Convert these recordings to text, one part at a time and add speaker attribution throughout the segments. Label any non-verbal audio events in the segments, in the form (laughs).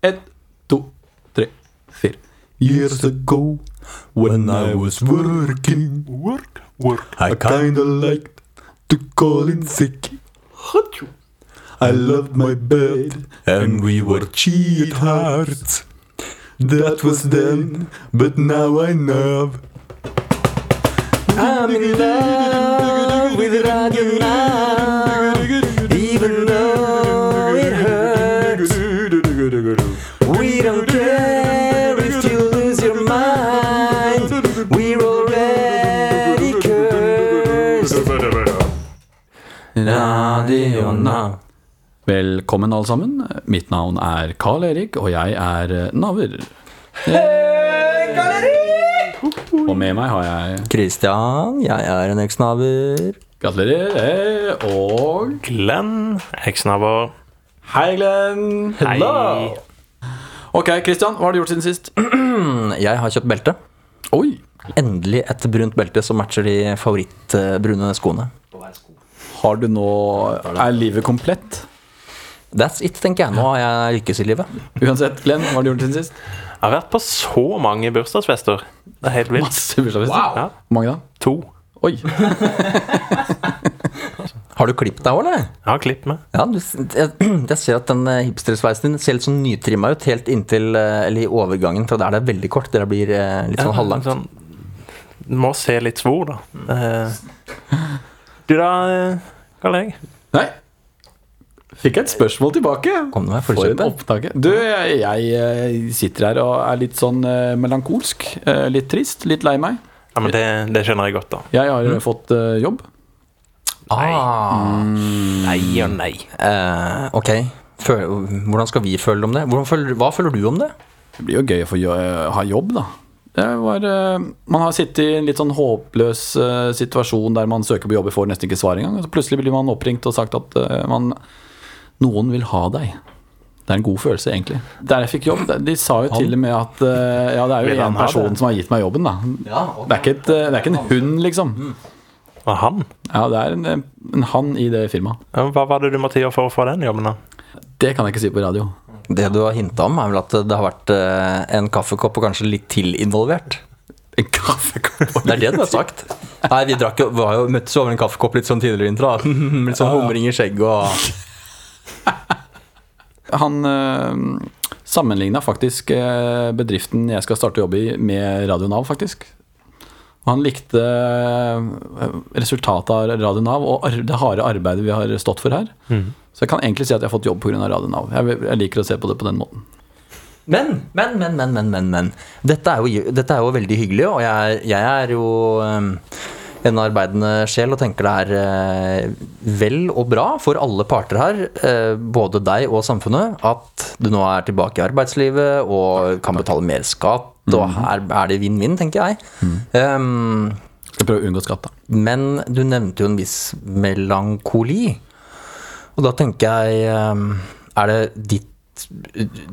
Speaker 1: Ett, to, tre, fire. Years ago, when I was working,
Speaker 2: Work, work.
Speaker 1: I kinda liked to call in sick.
Speaker 2: Хочу.
Speaker 1: I loved my bed, and we were cheat hearts. That was then, but now I know.
Speaker 3: I'm in love with Radio now, even though it hurts. We don't care if you lose your mind. We're already cursed. Radio now.
Speaker 1: Velkommen alle sammen. Mitt navn er Carl Erik, og jeg er eh, naver. Og med meg har jeg
Speaker 3: Kristian, jeg er en eksnaver.
Speaker 1: Gratulerer eh, og
Speaker 2: Glenn, eksnaver.
Speaker 1: Hei, Glenn!
Speaker 2: Hello!
Speaker 1: Ok, Kristian, hva har du gjort siden sist?
Speaker 3: Jeg har kjøpt belte.
Speaker 1: Oi!
Speaker 3: Endelig et brunt belte som matcher de favorittbrune skoene.
Speaker 1: Har du nå Er livet komplett?
Speaker 3: That's it, tenker jeg. Nå har jeg lykkes i livet.
Speaker 1: Uansett, Glenn, hva har du gjort siden sist?
Speaker 2: Jeg har vært på så mange bursdagsfester. Det er helt vilt.
Speaker 1: Masse bursdagsfester.
Speaker 2: Ja,
Speaker 1: Hvor mange da?
Speaker 2: to.
Speaker 1: Oi!
Speaker 3: Har du klippet deg òg, eller?
Speaker 2: Jeg har klipp med.
Speaker 3: Ja, du, jeg, jeg ser at den eh, hipstersveisen din ser litt sånn nytrimma ut, helt inntil eh, Eller i overgangen fra der det er veldig kort, til det blir eh, litt sånn halvlangt.
Speaker 2: Sånn, må se litt svor, da. Eh, Du da, eh, Karl Erik?
Speaker 1: Nei. Fikk jeg et spørsmål tilbake?
Speaker 3: Kom nå, jeg får
Speaker 1: For en
Speaker 3: kjøpe.
Speaker 1: opptak. Du, jeg, jeg eh, sitter her og er litt sånn eh, melankolsk. eh, Litt trist. Litt lei meg.
Speaker 2: Ja, men det, det skjønner jeg godt, da.
Speaker 1: Jeg har eh, fått eh, jobb.
Speaker 3: Ah,
Speaker 2: Nei og nei.
Speaker 3: eh, ok. Føl, hvordan skal vi føle om det? Hvordan føler, hva føler du om det?
Speaker 1: Det blir jo gøy å få jo- eh, ha jobb, da. Det var, eh, man har sittet i en litt sånn håpløs eh, situasjon der man søker på jobber, får nesten ikke svar engang. Og så plutselig blir man oppringt og sagt at eh, man, noen vil ha deg. Det er en god følelse, egentlig. Der jeg fikk jobb, de- de sa jo til og med at eh, Ja, det er
Speaker 2: Vil
Speaker 1: jo
Speaker 2: han
Speaker 1: én
Speaker 2: ha
Speaker 1: person
Speaker 2: det?
Speaker 1: som har gitt meg jobben, da. Det er ikke, et, eh, det er ikke en hund, liksom.
Speaker 2: Og han?
Speaker 1: Ja, det er en, eh, en han i det firmaet.
Speaker 2: Ja, Hva var det du måtte gjøre for å få den jobben, da?
Speaker 1: Det kan jeg ikke si på radio.
Speaker 3: Det du har hinta om, er vel at det har vært eh, en kaffekopp og kanskje litt til involvert.
Speaker 1: En kaffekopp
Speaker 3: Det er det du har sagt. Nei, vi drakk jo, var jo, møttes over en kaffekopp litt sånn tidligere i vinter. da. (laughs) Litt sånn humring i skjegget og
Speaker 1: Han øh, sammenligna faktisk eh, bedriften jeg skal starte jobb i, med Radio Nav, faktisk. Og han likte eh, resultatet av Radio Nav og ar det harde arbeidet vi har stått for her.
Speaker 3: Mm.
Speaker 1: Så jeg kan egentlig si at jeg har fått jobb pga. Radio Nav. Jeg, jeg liker å se på det på den måten.
Speaker 3: Men, men, men, men, men, men, men. Dette, er jo, dette er jo veldig hyggelig, og jeg, er- jeg er jo ehm, en arbeidende sjel og tenker det er eh, vel og bra for alle parter her, eh, både deg og samfunnet, at du nå er tilbake i arbeidslivet og kan betale mer skatt. Og her er det vinn-vinn, tenker jeg. Ehm,
Speaker 1: Skal prøve å unngå skatt, da.
Speaker 3: men du nevnte jo en viss melankoli. Og da tenker jeg ehm, Er det ditt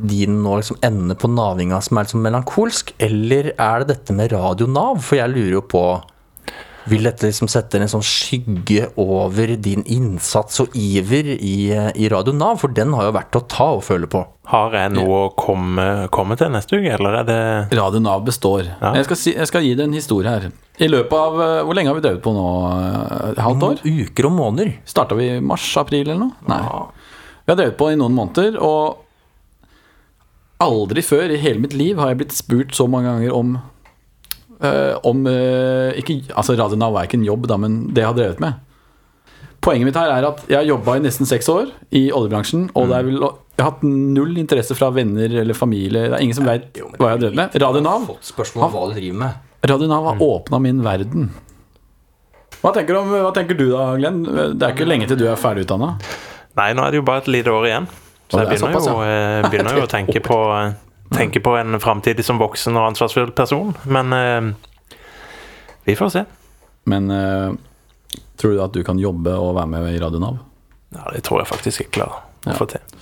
Speaker 3: din nå liksom ende på navinga som er liksom melankolsk, eller er det dette med Radio Nav? For jeg lurer jo på Vil dette liksom sette en sånn skygge over din innsats og iver i, eh, i Radio Nav? For den har jo vært å ta og føle på.
Speaker 2: Har jeg noe å komme, komme til neste uke, eller er det
Speaker 1: Radio Nav består.
Speaker 2: Ja.
Speaker 1: Jeg, skal si, jeg skal gi deg en historie her. I løpet av eh, Hvor lenge har vi drevet på nå? Eh, Halvt år?
Speaker 3: Uker og måneder.
Speaker 1: Starta vi i mars-april eller noe? Nei. Vi har drevet på i noen måneder, og aldri før i hele mitt liv har jeg blitt spurt så mange ganger om eh, Om eh, ikke, Altså, Radio Nav er ikke en jobb, da, men det jeg har drevet med. Poenget mitt her er at jeg har jobba i nesten seks år i oljebransjen, og det er vel, jeg har hatt null interesse fra venner eller familie. Det er ingen som veit hva jeg har drevet med. Radio Nav
Speaker 3: Spørsmål om hva du driver med.
Speaker 1: Radio Nav har åpna min verden. Hva tenker, du om, hva tenker du da, Glenn? Det er ikke lenge til du er ferdigutdanna.
Speaker 2: Nei, nå er det jo bare et lite år igjen.
Speaker 1: Å,
Speaker 2: Så jeg
Speaker 1: det er
Speaker 2: begynner,
Speaker 1: såpass,
Speaker 2: jo, eh, begynner
Speaker 1: (laughs)
Speaker 2: jo å tenke på, eh, tenke på en framtid som voksen og ansvarsfull person. Men eh, vi får se.
Speaker 1: Men eh, tror du at du kan jobbe og være med i Radio Nav?
Speaker 2: Ja, Det tror jeg faktisk jeg klarer
Speaker 1: Ja.
Speaker 2: å få til.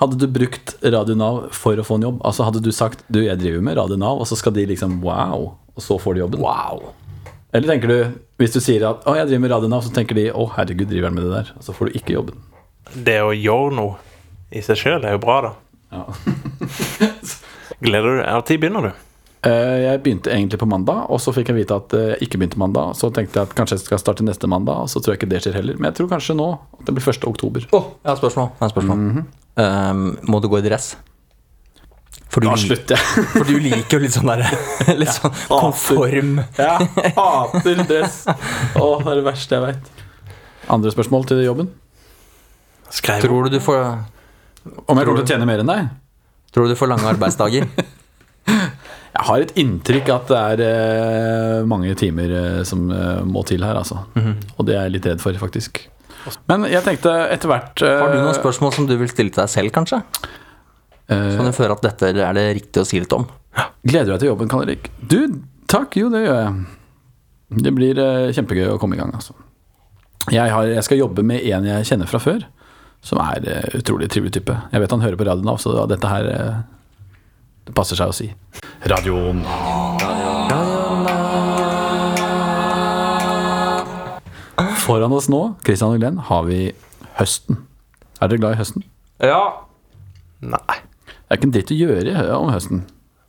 Speaker 1: Hadde du brukt Radio Nav for å få en jobb? Altså Hadde du sagt du, jeg driver med Radio Nav, og så skal de liksom wow, og så får de jobben?
Speaker 3: Wow.
Speaker 1: Eller tenker du, hvis du sier at å, jeg driver med Radio Nav, så tenker de å herregud, driver han med det der? Og så får du ikke jobben.
Speaker 2: Det å gjøre noe i seg sjøl er jo bra, da.
Speaker 1: Ja.
Speaker 2: Gleder du deg? Når begynner du?
Speaker 1: Eh, Jeg begynte egentlig på mandag, og så fikk jeg vite at eh, jeg ikke begynte mandag. Så tenkte jeg at kanskje jeg skal starte neste mandag, og så tror jeg ikke det skjer heller. Men jeg tror kanskje nå at det blir 1. oktober.
Speaker 3: Å, jeg har et spørsmål. Jeg har et spørsmål. um, må du gå i dress? For du,
Speaker 1: Da
Speaker 3: lik-
Speaker 1: slutter jeg.
Speaker 3: for du liker jo litt sånn der (laughs) Litt sånn konform.
Speaker 1: Jeg hater dress. Å, det er det verste jeg veit. Andre spørsmål til jobben?
Speaker 2: Skrev
Speaker 3: Tror du du får,
Speaker 1: Om jeg kommer til å tjene mer enn deg?
Speaker 3: tror du du får lange arbeidsdager?
Speaker 1: Jeg har et inntrykk at det er eh, mange timer eh, som eh, må til her, altså. Og det er jeg litt redd for, faktisk. Men jeg tenkte etter hvert eh,
Speaker 3: Har du noen spørsmål som du vil stille til deg selv, kanskje?
Speaker 1: eh,
Speaker 3: Kan du føle at dette er det riktig å si litt om?
Speaker 1: Gleder du deg til jobben, Karl Erik? Du, takk, jo det gjør jeg. Det blir eh, kjempegøy å komme i gang, altså. Jeg, har, jeg skal jobbe med en jeg kjenner fra før, som er eh, utrolig trivelig type. Jeg vet han hører på radioen av, så da, dette her eh, Det passer seg å si. Radioen. Foran oss nå, Christian og Glenn, har vi høsten. Er dere glad i høsten?
Speaker 3: Ja.
Speaker 2: Nei.
Speaker 1: Det er ikke en dritt å gjøre i hø- om høsten.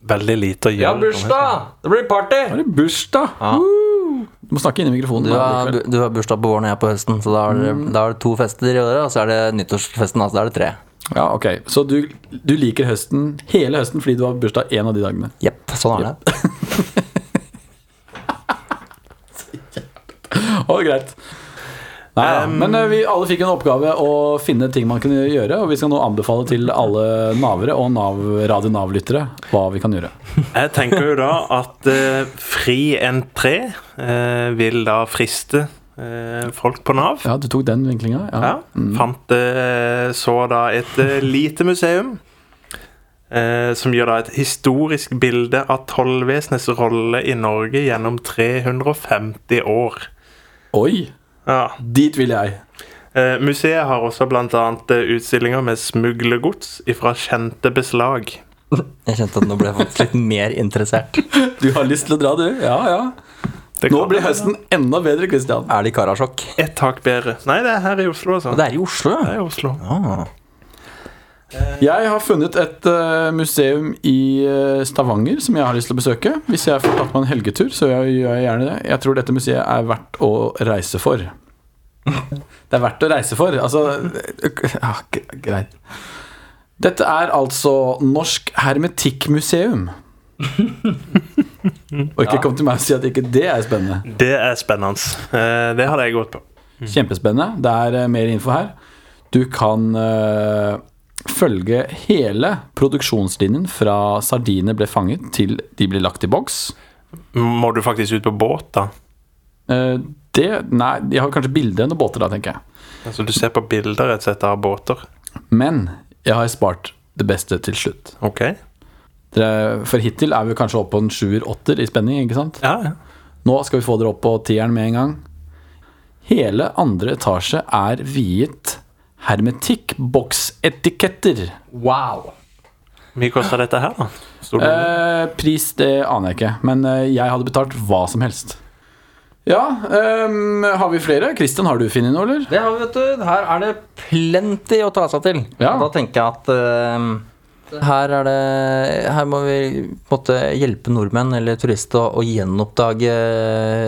Speaker 2: Veldig lite å gjøre.
Speaker 3: Det blir party!
Speaker 1: Har du bursdag? Woo! Du må snakke inn i mikrofonen.
Speaker 3: Du
Speaker 1: da,
Speaker 3: har,
Speaker 1: likevel.
Speaker 3: du har bursdag på våren og jeg på høsten, så da er det, da er det to fester i året. Og så er det nyttårsfesten, altså da er det tre.
Speaker 1: ja, ok Så du, du liker høsten hele høsten fordi du har bursdag en av de dagene. (laughs)
Speaker 3: Jepp, sånn er det.
Speaker 1: Å, greit Nei, ja. Men eh, vi alle fikk en oppgave å finne ting man kunne gjøre. Og vi skal nå anbefale til alle navere og nav, Radio Nav-lyttere hva vi kan gjøre.
Speaker 2: Jeg tenker jo da at eh, fri entré eh, vil da friste eh, folk på Nav.
Speaker 1: Ja, du tok den vinklinga? Ja.
Speaker 2: Ja. Fant eh, så da et eh, lite museum eh, som gjør da et historisk bilde av tollvesenets rolle i Norge gjennom 350 år.
Speaker 1: Oi!
Speaker 2: Ja.
Speaker 1: Dit vil jeg.
Speaker 2: Eh, museet har også bl.a. utstillinger med smuglergods ifra kjente beslag.
Speaker 3: (laughs) Jeg kjente at nå ble jeg faktisk litt mer interessert.
Speaker 1: Du har lyst til å dra, du? Ja, ja.
Speaker 2: Det
Speaker 1: Nå
Speaker 2: kan-
Speaker 1: blir høsten enda bedre, Christian.
Speaker 3: Er det i Karasjok?
Speaker 2: Ett tak bedre. Nei, det er her i Oslo, altså.
Speaker 3: Det er i Oslo.
Speaker 2: Det er i Oslo.
Speaker 3: Ah.
Speaker 1: Jeg har funnet et eh, museum i eh, Stavanger som jeg har lyst til å besøke. Hvis jeg får tatt meg en helgetur, så gjør jeg gjør jeg gjerne det. Jeg tror dette museet er verdt å reise for. Det er verdt å reise for. Altså ja, g- Greit. Dette er altså Norsk Hermetikkmuseum. Og ikke kom til meg og si at ikke det er spennende.
Speaker 2: Det er spennende. Eh, Det hadde jeg gått på.
Speaker 1: Kjempespennende. Det er eh, mer info her. Du kan eh, følge hele produksjonslinjen fra sardiner ble fanget til de ble lagt i boks.
Speaker 2: Må du faktisk ut på båt, da?
Speaker 1: Eh, det Nei, de har kanskje bilder enn båter, da, tenker jeg.
Speaker 2: Altså, du ser på bilder rett og slett av båter.
Speaker 1: Men jeg har spart det beste til slutt.
Speaker 2: OK?
Speaker 1: Dere, for hittil er vi kanskje oppe på en sjuer-åtter i spenning, ikke sant?
Speaker 2: Ja, ja.
Speaker 1: Nå skal vi få dere opp på tieren med en gang. Hele andre etasje er viet hermetikkboksetiketter.
Speaker 3: Wow.
Speaker 2: Hvor mye koster dette her, da? Stod det-
Speaker 1: Eh, pris, det aner jeg ikke. Men eh, jeg hadde betalt hva som helst. Ja, ehm, har vi flere? Christian, har du funnet noe, eller?
Speaker 3: Det har vi, vet du. Her er det plenty å ta seg til.
Speaker 1: Ja.
Speaker 3: Og Da tenker jeg at eh, her, er det, her må vi på en måte hjelpe nordmenn eller turister å, å gjenoppdage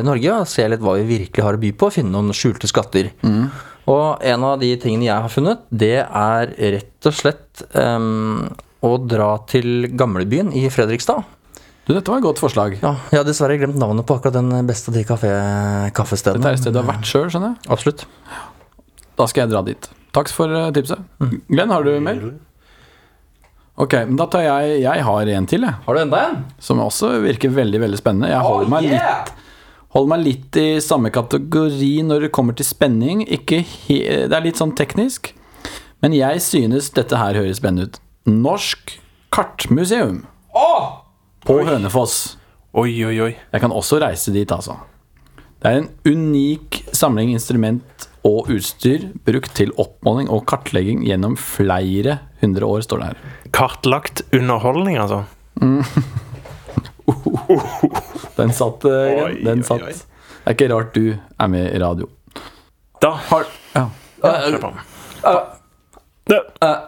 Speaker 3: Norge. Og se litt hva vi virkelig har å by på. Finne noen skjulte skatter.
Speaker 1: Mm.
Speaker 3: Og en av de tingene jeg har funnet, det er rett og slett eh, å dra til gamlebyen i Fredrikstad.
Speaker 1: Du, dette var et godt forslag.
Speaker 3: Ja, jeg har dessverre glemt navnet på akkurat den beste av de kafé, kaffestedene.
Speaker 1: Dette er et sted du har vært sjøl, skjønner jeg.
Speaker 3: Absolutt.
Speaker 1: Da skal jeg dra dit. Takk for eh, tipset. Glenn, har du mer? Ok, men da tar jeg Jeg har en til, jeg.
Speaker 3: Har du enda en?
Speaker 1: Som også virker veldig veldig spennende. Jeg holder meg litt Holder meg litt i samme kategori når det kommer til spenning. Ikke he det er litt sånn teknisk. Men jeg synes dette her høres spennende ut. Norsk kartmuseum. På Hønefoss.
Speaker 2: Eh. Oi, oi, oi.
Speaker 1: Jeg kan også reise dit, altså. Det er en unik samling instrument og utstyr brukt til oppmåling og kartlegging gjennom flere hundre år, står det her.
Speaker 2: Kartlagt underholdning, altså.
Speaker 1: Den satt. eh, Glenn.
Speaker 2: Oi,
Speaker 1: Den
Speaker 2: oi,
Speaker 1: satt.
Speaker 2: oi.
Speaker 1: Det er ikke rart du er med i radio.
Speaker 2: Da
Speaker 1: Har, ja.
Speaker 2: Kjør på.
Speaker 1: Eh.
Speaker 2: Det.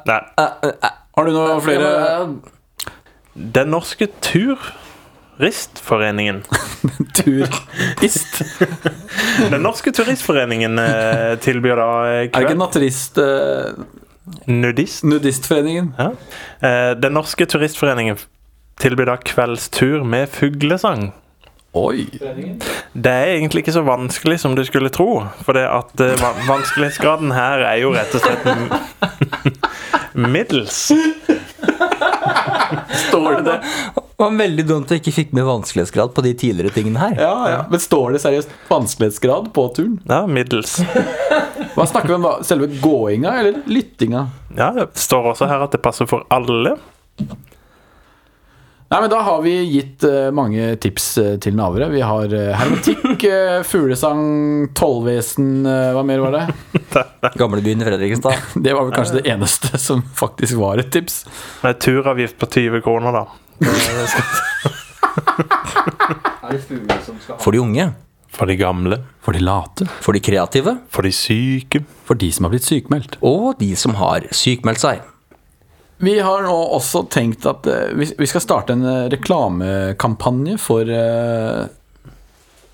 Speaker 2: Nei.
Speaker 3: eh,
Speaker 1: har du noen flere
Speaker 3: Ja,
Speaker 2: Den norske turistforeningen
Speaker 1: Turist.
Speaker 2: Den norske turistforeningen eh, tilbyr da eh,
Speaker 1: Er det ikke
Speaker 2: kveld
Speaker 1: naturist... eh,
Speaker 2: Nudist.
Speaker 1: nudistforeningen?
Speaker 2: Ja. Eh, Den norske turistforeningen tilbyr da kveldstur med fuglesang.
Speaker 1: Oi.
Speaker 2: Det er egentlig ikke så vanskelig som du skulle tro. For det at eh, va- vanskelighetsgraden her er jo rett og slett m- (laughs) middels.
Speaker 1: Står det det?
Speaker 3: Det var veldig dumt at jeg ikke fikk med vanskelighetsgrad på de tidligere tingene her.
Speaker 1: Ja, ja. Men står det seriøst vanskelighetsgrad på turen?
Speaker 2: Ja, middels.
Speaker 1: Hva snakker vi om da? Selve gåinga eller lyttinga?
Speaker 2: Ja, det står også her at det passer for alle.
Speaker 1: Nei, men Da har vi gitt eh, mange tips eh, til navere. Vi har eh, hermetikk, eh, fuglesang, tollvesen eh, Hva mer var det?
Speaker 3: Gamlebyen i Fredrikstad.
Speaker 1: Det var vel kanskje det eneste som faktisk var et tips.
Speaker 2: Med turavgift på 20 kroner, da.
Speaker 4: Er det fugler som skal ha
Speaker 3: For de unge.
Speaker 2: For de gamle.
Speaker 1: For de late.
Speaker 3: For de kreative.
Speaker 2: For de syke.
Speaker 1: For de som har blitt sykmeldt.
Speaker 3: Og de som har sykmeldt seg.
Speaker 1: Vi har nå også tenkt at eh, vi vi skal starte en eh, reklamekampanje for eh,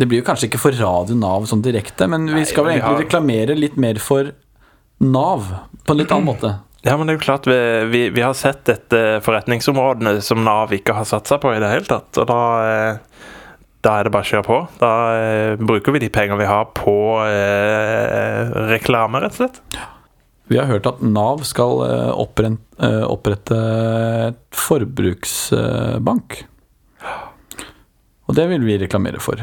Speaker 1: Det blir jo kanskje ikke for Radio Nav sånn direkte, men vi skal vel
Speaker 2: vi
Speaker 1: egentlig
Speaker 2: har-
Speaker 1: reklamere litt mer for Nav på en litt annen måte.
Speaker 2: Ja, men det er jo klart vi, vi, vi har sett dette forretningsområdene som Nav ikke har satsa på i det hele tatt. Og da, eh, da er det bare å kjøre på. Da eh, bruker vi de penger vi har på eh, reklame, rett og slett.
Speaker 1: Vi har hørt at Nav skal eh, oppren- eh, opprette et forbruksbank. Og det vil vi reklamere for.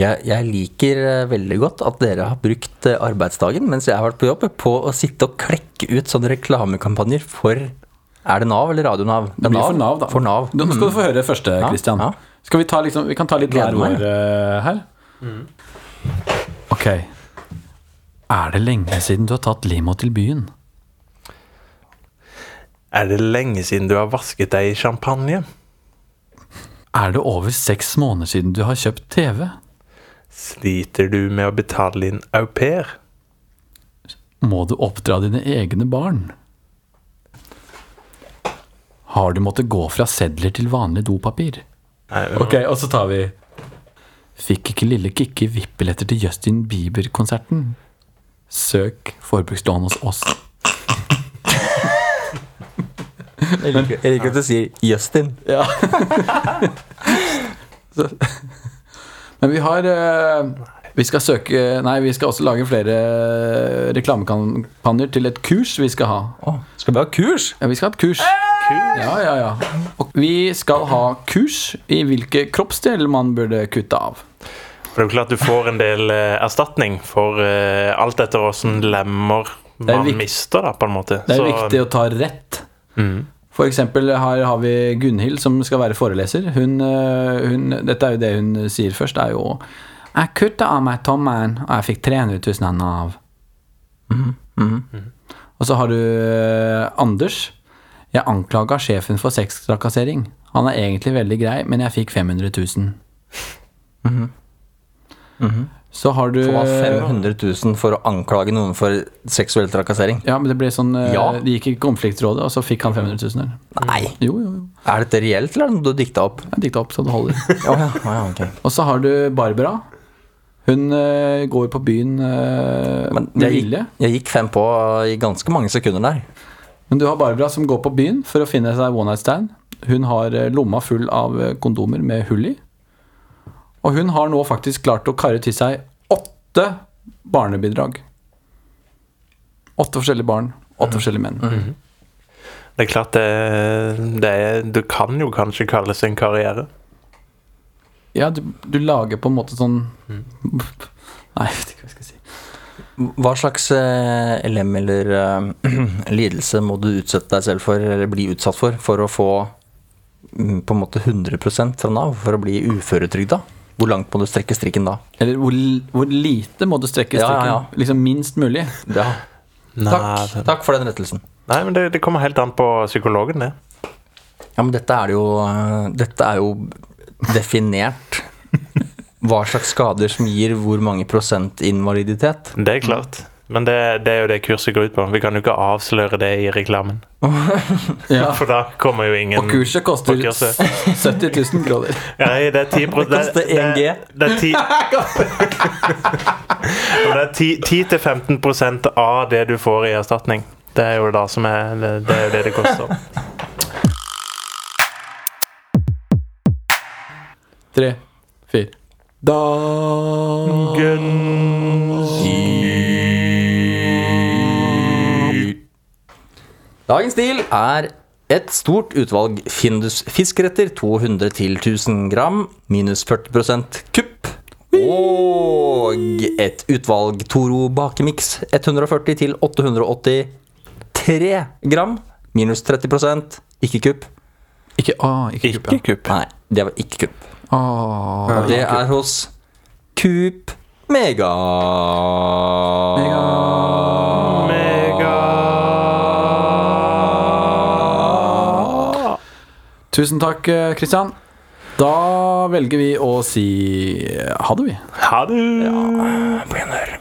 Speaker 3: Jeg, jeg liker eh, veldig godt at dere har brukt eh, arbeidsdagen mens jeg har vært på jobb, på å sitte og klekke ut sånne reklamekampanjer for Er det Nav eller Radio Nav?
Speaker 1: Det blir for Nav, da.
Speaker 3: For Nav. Mm.
Speaker 1: Nå skal du få høre det første,
Speaker 3: Ja,
Speaker 1: Christian.
Speaker 3: ja.
Speaker 1: Skal vi, ta liksom, vi kan ta litt hver
Speaker 3: Gleder meg.
Speaker 1: vår eh, her. Ok. Er det lenge siden du har tatt limo til byen?
Speaker 2: Er det lenge siden du har vasket deg i champagne?
Speaker 1: Er det over seks måneder siden du har kjøpt TV?
Speaker 2: Sliter du med å betale din au pair?
Speaker 1: Må du oppdra dine egne barn? Har du måttet gå fra sedler til vanlig dopapir?
Speaker 2: Nei,
Speaker 1: Ok, og så tar vi Fikk ikke lille Kikki vippeletter til Justin Bieber-konserten? Søk forbrukslån hos oss.
Speaker 3: Jeg liker, jeg liker at du sier Justin. (laughs)
Speaker 1: Ja. så. Men vi har eh, Vi skal søke Nei, vi skal også lage flere reklamekampanjer til et kurs vi skal ha.
Speaker 3: Å, skal vi ha kurs?
Speaker 1: Ja, vi skal ha et kurs. Ja, ja, ja. Og vi skal ha kurs i hvilke kroppsdeler man burde kutte av.
Speaker 2: For det er jo klart du får en del eh, erstatning for eh, alt etter åssen lemmer
Speaker 1: er
Speaker 2: man
Speaker 1: vik-
Speaker 2: mister, da, på en måte.
Speaker 1: Det er viktig å ta rett. For eksempel her har vi Gunhild som skal være foreleser. Hun, øh, hun, dette er jo det hun sier først, er jo Jeg kutta av meg tommelen, og jeg fikk 300 000 av Nav. Og så har du øh, Anders. Jeg anklaga sjefen for sextrakassering. Han er egentlig veldig grei, men jeg fikk 500 000. Så har du
Speaker 3: Få 500 000 for å anklage noen for seksuell trakassering.
Speaker 1: Ja, men det ble sånn øh,
Speaker 3: Ja.
Speaker 1: Det gikk i konfliktrådet, og så fikk han 500 000. der.
Speaker 3: Nei!
Speaker 1: Jo, jo, jo.
Speaker 3: Er dette reelt, eller er det noe du dikta
Speaker 1: (laughs)
Speaker 3: opp?
Speaker 1: Jeg dikta opp så det holder.
Speaker 3: Å ja, å ja, ok.
Speaker 1: Og så har du Barbara. Hun øh, går på byen øh,
Speaker 3: Men
Speaker 1: med
Speaker 3: jeg,
Speaker 1: vilje.
Speaker 3: gikk- jeg gikk fem på i ganske mange sekunder der.
Speaker 1: Men du har Barbara som går på byen for å finne seg one night stand. Hun har øh, lomma full av øh, kondomer med hull i. Og hun har nå faktisk klart å karre til seg åtte barnebidrag. Åtte forskjellige barn.
Speaker 3: Mm.
Speaker 1: Åtte forskjellige menn.
Speaker 2: Det er klart det, det er, Du kan jo kanskje kalles en karriere.
Speaker 1: Ja, du, du lager på en måte sånn
Speaker 3: Mm.
Speaker 1: (laughs) Nei, jeg vet ikke hva jeg skal si.
Speaker 3: Hva slags eh, lem eller eh, (clears throat) lidelse må du utsette deg selv for, eller bli utsatt for, for å få mm, på en måte 100 fra Nav, for å bli uføretrygda? Hvor langt må du strekke strikken da?
Speaker 1: Eller hvor, hvor lite må du strekke
Speaker 3: Ja, ja,
Speaker 1: strikken?
Speaker 3: ja.
Speaker 1: Liksom minst mulig.
Speaker 2: Nei,
Speaker 3: Takk,
Speaker 2: det-
Speaker 3: takk for den rettelsen.
Speaker 2: Nei, men det, det kommer helt an på psykologen, det.
Speaker 3: Ja, men dette er det jo eh, Dette er jo (laughs) definert hva slags skader som gir hvor mange prosent invaliditet.
Speaker 2: Det er klart. Men det, det er jo det kurset går ut på. Vi kan jo ikke avsløre det i reklamen.
Speaker 1: (laughs)
Speaker 3: (laughs)
Speaker 1: Ja.
Speaker 2: For da kommer jo ingen
Speaker 1: Og kurset koster
Speaker 2: Og kurset.
Speaker 1: (laughs)
Speaker 3: altså.
Speaker 1: 70 000 kroner.
Speaker 2: Nei, det er 10 Det
Speaker 3: koster 1G.
Speaker 2: Det, det er 10 Og det er 10 10-15 av det du får i erstatning. Det er jo da som er Det, det er jo det det koster.
Speaker 1: Tre, fire Da
Speaker 3: Dagens deal er et stort utvalg Findus fiskretter, 200 til 1000 gram, minus 40 kupp. Og et utvalg Toro bakemiks, 140 til 883 gram, minus 30 ikke kupp.
Speaker 1: Ikke A, ikke kupp. ja.
Speaker 2: kupp.
Speaker 3: Nei, det var ikke kupp.
Speaker 1: Ah,
Speaker 3: Og det er hos Coop Mega.
Speaker 1: Tusen takk, eh, Christian. Da velger vi å si eh, ha det, vi.
Speaker 2: Ha det.
Speaker 3: På gjenhør.